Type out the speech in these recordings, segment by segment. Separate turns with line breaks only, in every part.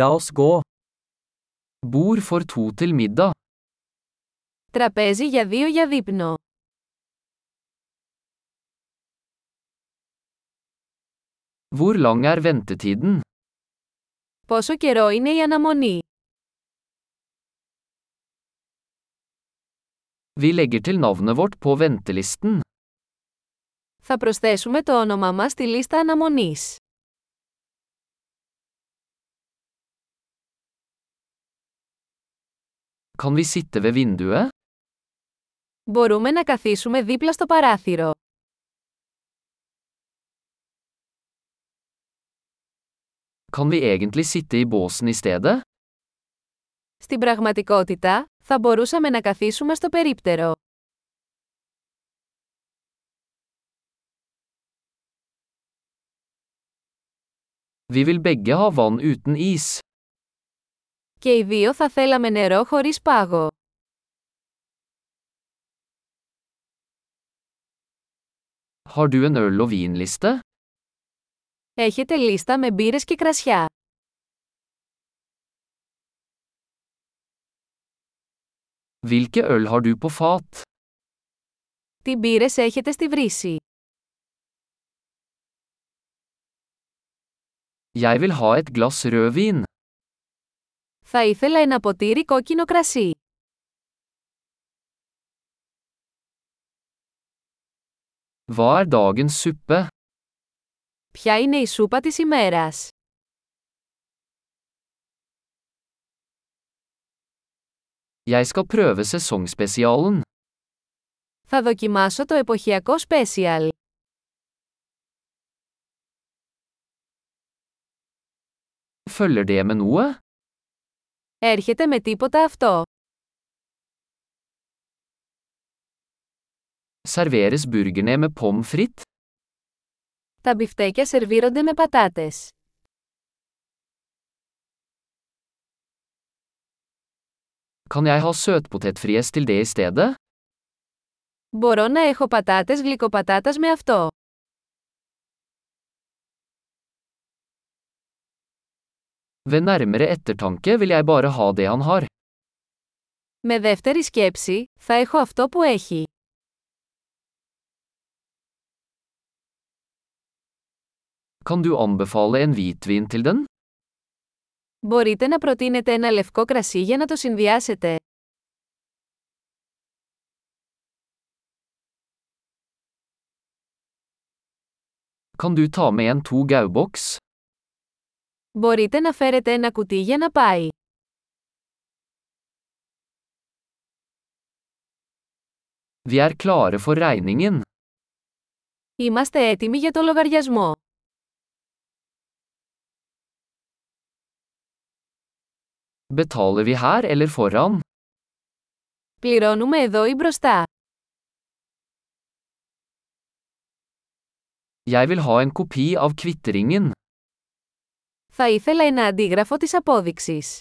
La oss gå. Bord for to til middag.
Τραπέζι για δύο για δείπνο.
Hvor lang er ventetiden?
Πόσο καιρό είναι η αναμονή.
Vi legger til navnet vårt på ventelisten.
Θα προσθέσουμε το όνομά μας στη λίστα αναμονής.
Kan vi sitte ved vinduet?
Μπορούμε να καθίσουμε δίπλα στο παράθυρο.
Kan vi egentlig sitte i båsen i stedet?
Στην πραγματικότητα, θα μπορούσαμε να καθίσουμε στο περίπτερο.
Vi vil begge ha vann uten is.
Και οι δύο θα θέλαμε νερό χωρίς πάγο.
Har du en øl- og vinliste?
Έχετε λίστα με μπύρες και κρασιά.
Hvilke øl har du på fat?
Τι μπύρες έχετε στη βρύση.
Jeg vil ha et glass rødvin.
Θα ήθελα ένα ποτήρι κόκκινο κρασί.
Hva er dagens suppe?
Ποια είναι η σούπα της ημέρας.
Jeg skal prøve sesongspesialen.
Θα δοκιμάσω το εποχιακό special.
Følger det med noe?
Έρχεται με τίποτα αυτό.
Serveres burgerne med pommes frites?
Τα μπιφτέκια σερβίρονται με πατάτες.
Kan jeg ha søtpotetfries til det i stedet?
Μπορώ να έχω πατάτες γλυκοπατάτας με αυτό.
Ved nærmere ettertanke vil jeg bare ha det han har.
Με δεύτερη σκέψη, θα έχω αυτό που έχει.
Kan du anbefale en hvitvin til den?
Μπορείτε να προτείνετε ένα λευκό κρασί για να το συνδυάσετε.
Kan du ta med en to gau-boks?
Μπορείτε να φέρετε ένα κουτί για να πάει.
Vi er klare for regningen.
Είμαστε έτοιμοι για το λογαριασμό.
Betaler vi her eller foran?
Πληρώνουμε εδώ ή μπροστά.
Jeg vil ha en kopi av kvitteringen.
Θα ήθελα ένα αντίγραφο της απόδειξης.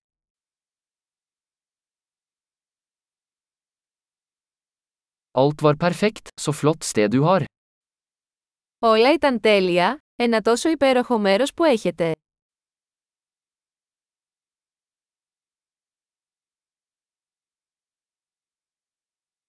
Alt var perfekt, så flott sted du har.
Όλα ήταν τέλεια, ένα τόσο υπέροχο μέρος που έχετε.